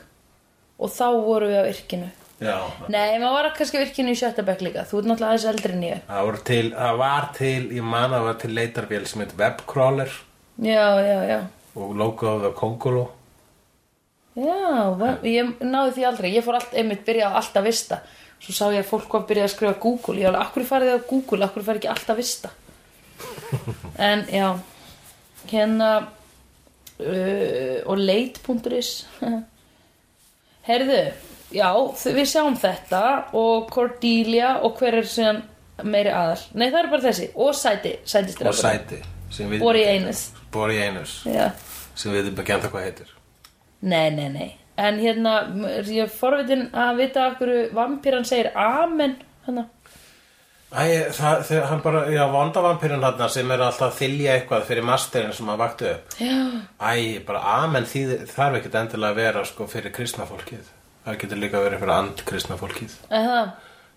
Speaker 2: og þá vorum við á yrkinu
Speaker 1: Já
Speaker 2: Nei, maður var kannski á virkinu í sjötta bekk líka. Þú ert náttúrulega aðeins eldri en ég.
Speaker 1: Það var til, það var til, ég man að það var til leitarvél sem heit Webcrawler
Speaker 2: Já, já, já.
Speaker 1: og logoð á Kongolo
Speaker 2: Já, va- ég náði því aldrei. Ég fór allt, einmitt byrjaði á allt að vista. Svo sá ég að fólk var að byrja að skrifa Google. Ég alveg, akkur farið þið á Google, akkur farið ekki allt að vista. En, já, hérna, uh, og leit.is. Herðu, já, þ- við sjáum þetta og Cordelia og hver er síðan meiri aðal. Nei, það eru bara þessi. Og sæti, sætistræður.
Speaker 1: og sæti sem við-
Speaker 2: Bori Einus.
Speaker 1: Bori Einus
Speaker 2: Já.
Speaker 1: sem við erum ekki enda hvað heitir
Speaker 2: Nei, nei, nei. En hérna, m- er ég er forvitin að vita af hverju vampýran segir amen. hérna. Hanna.
Speaker 1: Æ, það, þau, hann bara, já, vandavampirinn hann sem er alltaf að þylja eitthvað fyrir masterinn sem hann vakti upp.
Speaker 2: Já.
Speaker 1: Æ, bara amen þýðir, þarf ekkert endilega að vera sko fyrir kristna fólkið. Það getur líka að vera fyrir andkristna fólkið.
Speaker 2: Það.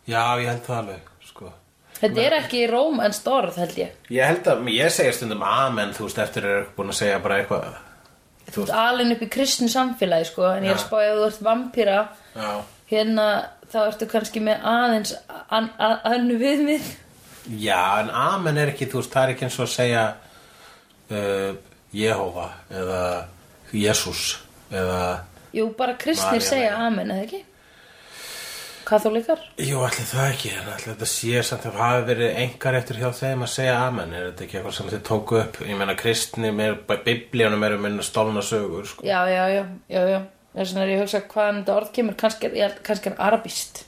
Speaker 1: Já, ég held það alveg, sko.
Speaker 2: Þetta er ekki í róm en storð, held ég.
Speaker 1: Ég held að, ég segja stundum amen, þú veist, eftir er búin að segja bara eitthvað.
Speaker 2: Þú ert alin upp í kristnu samfélagi, sko, en ég er
Speaker 1: Já.
Speaker 2: spáið að þú ert vampýra.
Speaker 1: Já.
Speaker 2: Hérna, þá ertu kannski með aðeins an, að, annu viðmið.
Speaker 1: Já, en amen er ekki, þú veist, það er ekki eins og að segja uh, Jehova eða Jésús eða...
Speaker 2: Jú, bara kristnir
Speaker 1: María,
Speaker 2: segja
Speaker 1: María.
Speaker 2: amen, eða ekki? Katholikar?
Speaker 1: Jú, allir það ekki, en allir þetta sé samt að hafi verið engar eftir hjá þeim að segja amen, er þetta ekki eitthvað sem þið tóku upp? Ég meina kristni, meir, biblíunum eru minna stolna sögur, sko.
Speaker 2: Já, já, já, já, já. Þess vegna er ég að hugsa hvaðan þetta orð kemur. Kannski er, ég held- kannski er arabist.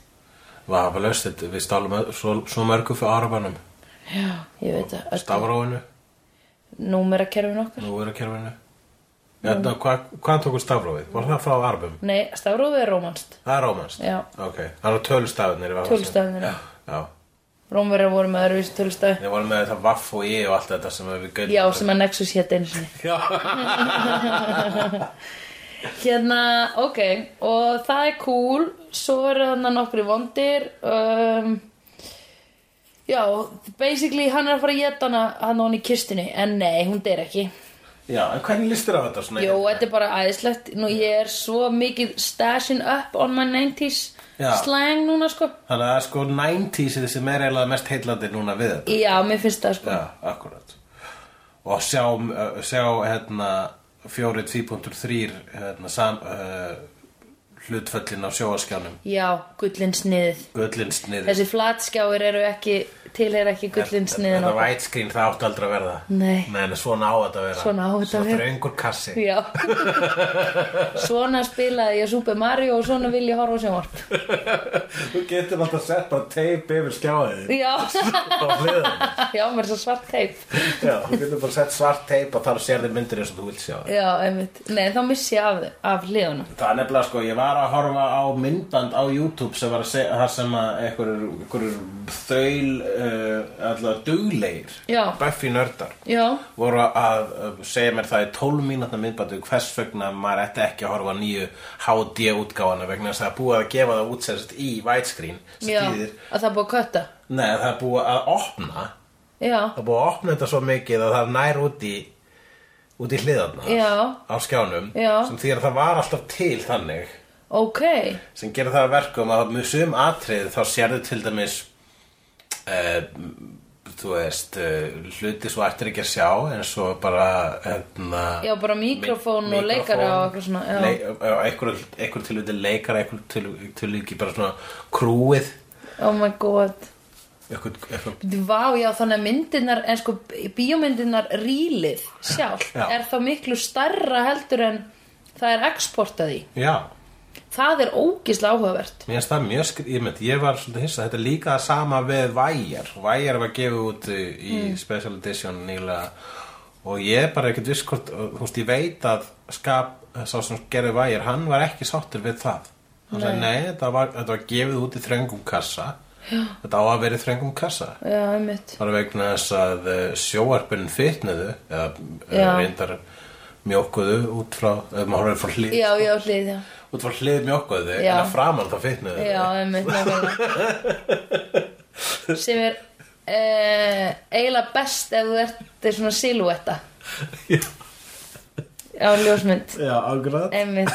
Speaker 1: Vafa löst, þetta, við stálum ö- svo, svo mörgu fyrir arabanum,
Speaker 2: Já, ég veit það. Öll-
Speaker 1: stafróinu,
Speaker 2: Númerakerfin okkar? Mm.
Speaker 1: núverakerfinu. Þetta, hva, hvað tóku stafróið? Var það frá arabum?
Speaker 2: Nei, stafrófið er rómanst.
Speaker 1: Það er rómanst?
Speaker 2: Já.
Speaker 1: Ok, það eru tölustafinir í vafa.
Speaker 2: Tölustafirnir, já.
Speaker 1: Já, já.
Speaker 2: Rómverjar voru með öðruvísi tölustafi.
Speaker 1: Ég var með þetta vaff og ég og allt þetta sem við gauðum.
Speaker 2: Já, sem að Nexus hétt einu sinni.
Speaker 1: Já,
Speaker 2: Hérna, ok, og það er cool, svo eru þannig nokkri vondir. Um, já, basically hann er að fara að geta hana hann og hann í kistunni, en nei, hún deyr ekki.
Speaker 1: já, en hvernig listir á þetta svona?
Speaker 2: Jó, þetta er bara æðislegt. Nú, ég er svo mikið stashing up on my 90s
Speaker 1: Já.
Speaker 2: slang núna, sko.
Speaker 1: Þannig að það er sko 90s er sem er eiginlega mest heillandi núna við þetta.
Speaker 2: Já, mér finnst það, sko.
Speaker 1: Já, akkurat. Og sjá, uh, sjá hérna, fjórið 2.3 hérna, sam, uh, hlutföllin á sjóaskjánum.
Speaker 2: Já, gullinsniðið.
Speaker 1: Gullinsniðið.
Speaker 2: Þessi flatskjáir eru ekki, tilheyra ekki gullinsniðin
Speaker 1: Þetta widescreen það átti aldrei að verða.
Speaker 2: Nei.
Speaker 1: Nei, en svona á þetta að vera.
Speaker 2: Svona á þetta að vera.
Speaker 1: Svona þröngur kassi.
Speaker 2: Já. svona spilaði ég Super Mario og svona vil ég horfa á sjónvarp.
Speaker 1: Þú getur alltaf sett bara teip yfir skjáðið.
Speaker 2: Já,
Speaker 1: Á hliðum.
Speaker 2: já, mér er svo svart teip.
Speaker 1: Já, þú getur bara sett svart teip og þar sér þið myndir eins og þú vilt sjá það.
Speaker 2: Já, einmitt. Nei, þá missi ég af, af liðuna.
Speaker 1: Það er nefnilega sko, ég var að horfa á myndband á YouTube sem var að segja þar sem að einhverjur einhverjur þaul uh, allavega duglegir
Speaker 2: Já.
Speaker 1: Buffy nördar
Speaker 2: Já,
Speaker 1: voru að uh, segja mér það í 12 mínútna myndbandu hvers vegna maður ætti ekki að horfa á nýju HD útgáfana vegna þess að það er búið að gefa það út sérst í widescreen sem
Speaker 2: já,
Speaker 1: þýðir-
Speaker 2: að það er búið að kötta.
Speaker 1: Nei, það er búið að opna
Speaker 2: Já,
Speaker 1: það er búið að opna þetta svo mikið að það nær út í út í hliðarna
Speaker 2: Já.
Speaker 1: á skjánum
Speaker 2: Já.
Speaker 1: sem því að það var alltaf til þannig
Speaker 2: ok.
Speaker 1: sem gerir það að verkum að með sum atrið þá sérðu til dæmis uh, þú veist uh, hluti svo eftir ekki að sjá eins og bara hérna,
Speaker 2: Já, bara mikrofón og leikara og eitthvað svona, já.
Speaker 1: leik, eitthvað, eitthvað til hluti leikara eitthvað til, til hluti bara svona krúið
Speaker 2: Oh my god.
Speaker 1: eitthvað, eitthvað
Speaker 2: Vá, já, þannig að myndirnar, en sko bíómyndirnar rílið sjálf
Speaker 1: Já.
Speaker 2: er þá miklu starra heldur en það er exportað í
Speaker 1: Já,
Speaker 2: það er ógislega áhugavert
Speaker 1: mér finnst það mjög skrið, ég meint, ég var svolítið hissa, þetta er líka það sama við Væjar, Væjar var gefið út í mm. Special Edition nýlega og ég er bara ekkert viss hvort, og, þú veist, ég veit að skap, sá sem gerði Væjar, hann var ekki sáttur við það. Hann sagði, nei, þetta var, þetta var gefið út í þröngum kassa, Já. þetta á að vera í þröngum kassa.
Speaker 2: já, einmitt
Speaker 1: bara vegna þess að eh, sjóarpinn fitnuðu eða
Speaker 2: Já.
Speaker 1: Já. reyndar mjókuðu út frá, ef maður horfir frá hlið
Speaker 2: já, já, hlið, já
Speaker 1: út frá hlið mjókuðu
Speaker 2: Já.
Speaker 1: en að framan þá fitnuðu
Speaker 2: já, einmitt nákvæmlega. sem er eh, eiginlega best ef þú ert þetta er svona silúetta
Speaker 1: Já.
Speaker 2: já, ljósmynd
Speaker 1: Já, akkurat
Speaker 2: einmitt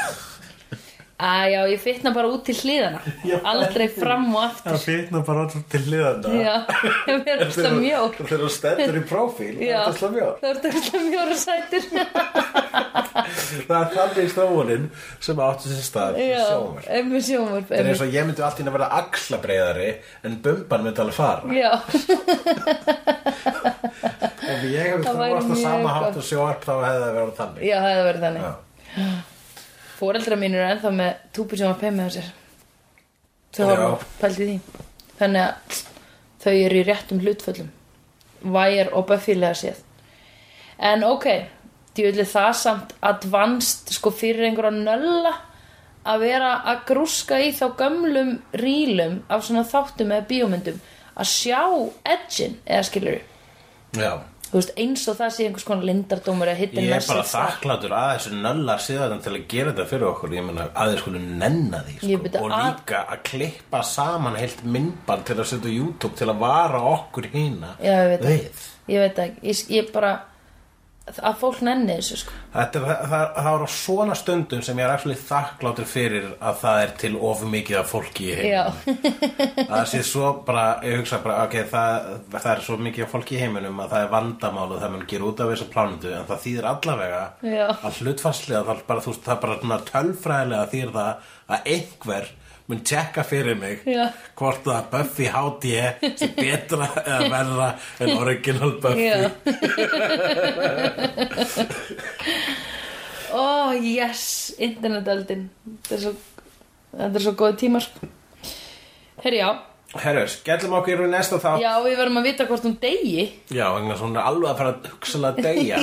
Speaker 2: að já, ég fitna bara út til hliðana
Speaker 1: Já.
Speaker 2: aldrei fram og
Speaker 1: Það
Speaker 2: aftur
Speaker 1: fitna bara alltaf til hliðana
Speaker 2: já, ég verður alltaf mjór
Speaker 1: Þegar þú stendur í prófíl
Speaker 2: Já.
Speaker 1: Það er alltaf mjór
Speaker 2: það verður alltaf mjór og sætur
Speaker 1: Það er þannig stóðunin sem áttu sér stað í
Speaker 2: já,
Speaker 1: sjóar
Speaker 2: einmitt sjómar
Speaker 1: Það er eins og ég myndi allt í að vera axlabreiðari en bumban myndi alveg fara
Speaker 2: já,
Speaker 1: Ef ég hefði
Speaker 2: Það væri
Speaker 1: þróast að
Speaker 2: mjög
Speaker 1: sama
Speaker 2: gott.
Speaker 1: hátt og sjóarp þá hefði það verið þannig
Speaker 2: já, það verður þannig
Speaker 1: Já.
Speaker 2: Fóreldrar mínir eru ennþá með túpi sem að pæmi á sér Þau
Speaker 1: Já.
Speaker 2: horfa pælt í því Þannig að þau eru í réttum hlutföllum Væjar og Buffylega séð En ok, djúli það samt advanced sko fyrir einhverja nölla að vera að grúska í þá gömlum rílum af svona þáttum eða bíómyndum að sjá edgin eða skilur
Speaker 1: Já.
Speaker 2: þú veist eins og það sé einhvers konar lindardómur eða hidden
Speaker 1: Ég er bara
Speaker 2: message þar.
Speaker 1: þakkláttur að þessu nöllar síðan til að gera þetta fyrir okkur ég meina að þeir skulu nenna því
Speaker 2: Ég
Speaker 1: sko.
Speaker 2: byrja
Speaker 1: og
Speaker 2: að-
Speaker 1: líka að klippa saman heilt myndband til að setja á YouTube til að vara okkur hína
Speaker 2: Já, ég veit það.
Speaker 1: við
Speaker 2: ég veit það ekki, ég, ég bara að fólk nenni þessu sko
Speaker 1: Þetta, er- það, það, það er á svona stundum sem ég er actually þakkláttur fyrir að það er til of mikið af fólki í
Speaker 2: já,
Speaker 1: heiminum að það sé svo bara, ég hugsa bara ok, það, það er svo mikið af fólki í heiminum að það er vandamál og það mun gera út af þessu plánundu en það þýðir allavega
Speaker 2: Já.
Speaker 1: að hlutfarslega það er bara, þú veist, það er bara svona tölfræðilega þýðir það að einhver mun tjekka fyrir mig
Speaker 2: Já.
Speaker 1: hvort það Buffy HD sé betra eða verra en original Buffy
Speaker 2: já ó, yes internetöldin þetta er svo, þetta er svo góð tímar herri já
Speaker 1: Herru, skellum okkur í næsta þá
Speaker 2: já, við verðum að vita hvort hún degi
Speaker 1: Já, vegna svona alveg að fara að hugsalega deyja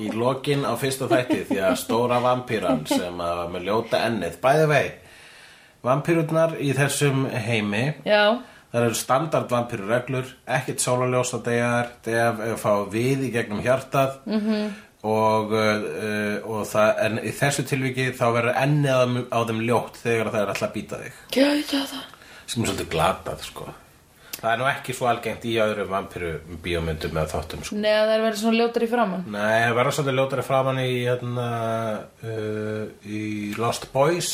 Speaker 1: í lokin á fyrsta þætti því að stóra vampýran sem að var með ljóta ennið, bæði vei vampýrurnar í þessum heimi
Speaker 2: já,
Speaker 1: þar eru standard vampýrurreglur ekkert sólarljós að deyja þær deyja að fá við í gegnum hjartað -hmm. og, uh, og það, en í þessu tilviki þá verður ennið á- á þeim ljótt þegar það er alltaf að býta þig
Speaker 2: gæta það
Speaker 1: sem er svolítið glatað sko Það er nú ekki svo algengt í öðrum vampiru bíómyndum eða þáttum sko.
Speaker 2: neða það er verið svona ljótar í framann
Speaker 1: Nei, það verður svolítið ljótari framan í, hérna, uh, í Lost Boys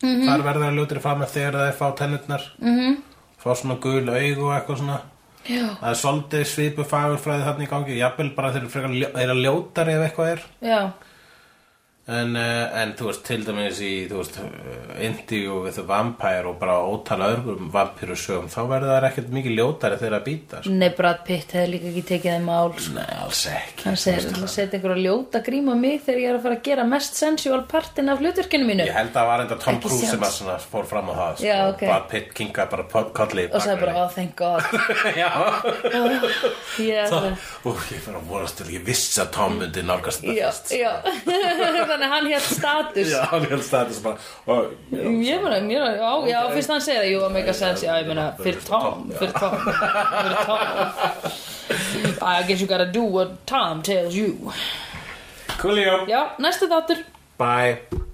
Speaker 1: Þar verður það ljótari framan þegar þeir fá tennutnar -hmm. Fá svona gul augu og eitthvað svona
Speaker 2: já,
Speaker 1: Það er svolítið svipu fagurfræði þarna í gangi Jafnvel bara þeir eru frekar ljó, þeir eru ljótari ef eitthvað er
Speaker 2: já,
Speaker 1: En, uh, en þú veist, til dæmis í, þú veist, uh, Indigo with the Vampire og bara ótal öðrum vampirusögum Þá verður það ekkert mikið ljótari þegar að býta sko.
Speaker 2: nei Brad Pitt hefði líka ekki tekið þeim mál sko.
Speaker 1: Nei, alls ekki
Speaker 2: hann segir, það setja einhverja ljóta gríma mig þegar ég er að fara að gera mest sensual partin af hlutverkinu mínu
Speaker 1: Ég held að það var enda Tom
Speaker 2: Ekki
Speaker 1: Cruise sem að
Speaker 2: séns.
Speaker 1: svona fór fram á það sko.
Speaker 2: Já, ok.
Speaker 1: Brad Pitt kingaði bara po- kolli í
Speaker 2: og sagði bara, oh thank god
Speaker 1: bakgrunni. Já
Speaker 2: ég er það
Speaker 1: Ú, ég fyrir að vorast til, ég vissi að Tom myndi nálgast þetta
Speaker 2: já,
Speaker 1: fyrst.
Speaker 2: já þannig að hann hér status
Speaker 1: Já, hann held status bara og, já,
Speaker 2: ég meina, ég meina, já, já, fyrst hann segir það jú, að make a sense, já, ég meina, fyrir Tom
Speaker 1: Já.
Speaker 2: fyrir Tom fyrir Tom I guess you gotta do what Tom tells you
Speaker 1: Coolio
Speaker 2: já, næstu þáttur
Speaker 1: Bye